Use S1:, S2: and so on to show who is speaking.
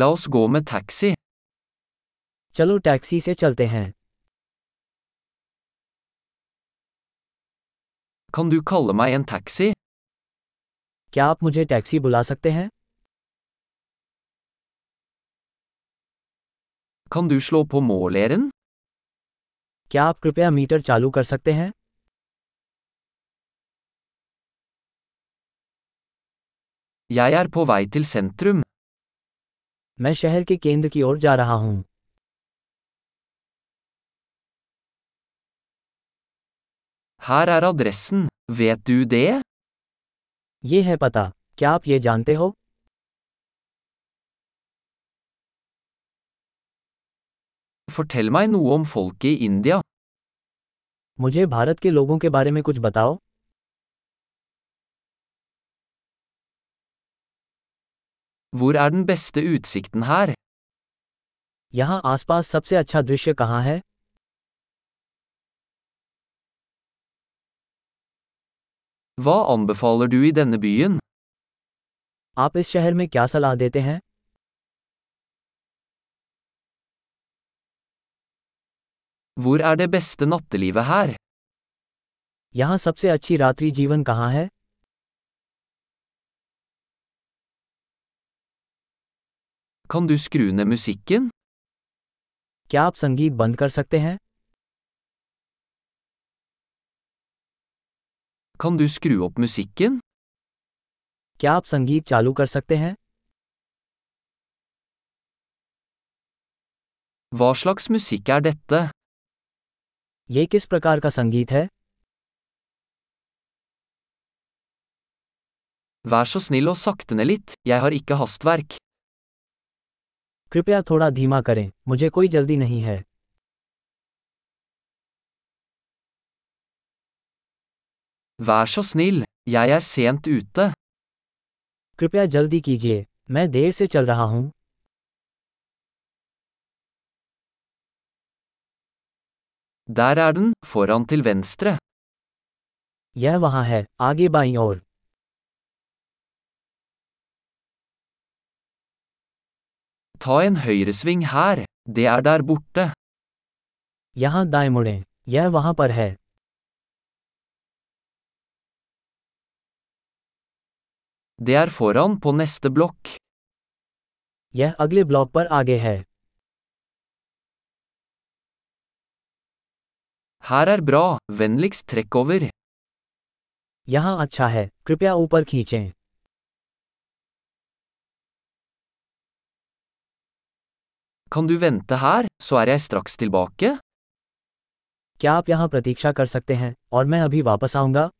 S1: La oss gå med taxi.
S2: चलो taxi से चलते हैं
S1: Kan du kalle meg en taxi?
S2: क्या आप मुझे टैक्सी बुला सकते हैं
S1: Kan du slå på måleren?
S2: क्या आप कृपया मीटर चालू कर सकते हैं
S1: Jeg er på vei til sentrum.
S2: मैं शहर के केंद्र की ओर जा रहा हूँ
S1: Her er adressen. Vet du det?
S2: ये है पता क्या आप ये जानते हो
S1: Fortell meg noe om folket i India.
S2: मुझे भारत के लोगों के बारे में कुछ बताओ
S1: Hvor er den beste utsikten her?
S2: यहाँ आसपास सबसे अच्छा दृश्य कहाँ है
S1: Hva anbefaler du i denne byen?
S2: आप इस शहर में क्या सलाह देते हैं
S1: Hvor er det beste nattelivet her?
S2: यहाँ सबसे अच्छी रात्रि जीवन कहाँ है
S1: Kan du skru ned musikken?
S2: क्या आप संगीत बंद कर सकते हैं
S1: Kan du skru opp musikken?
S2: क्या आप संगीत चालू कर सकते हैं
S1: Hva slags musikk er dette?
S2: ये किस प्रकार का संगीत है
S1: Vær så snill å sakte ned litt, jeg har ikke hastverk.
S2: कृपया थोड़ा धीमा करें मुझे कोई जल्दी नहीं है
S1: Vær så snill, jeg er sent ute.
S2: कृपया जल्दी कीजिए मैं देर से चल रहा हूँ
S1: Der er den, foran til venstre.
S2: यह वहाँ है आगे बाईं ओर
S1: Ta en høyresving her, det er der borte.
S2: यहाँ दाएं मुड़ें यह वहाँ पर है
S1: Det er foran på neste blokk.
S2: यह अगले ब्लॉक पर आगे है
S1: Her er bra, vennligst trekk over.
S2: यहाँ अच्छा है कृपया ऊपर खींचें
S1: Kan du vente her, så er jeg straks tilbake?
S2: क्या आप यहाँ प्रतीक्षा कर सकते हैं और मैं अभी वापस आऊँगा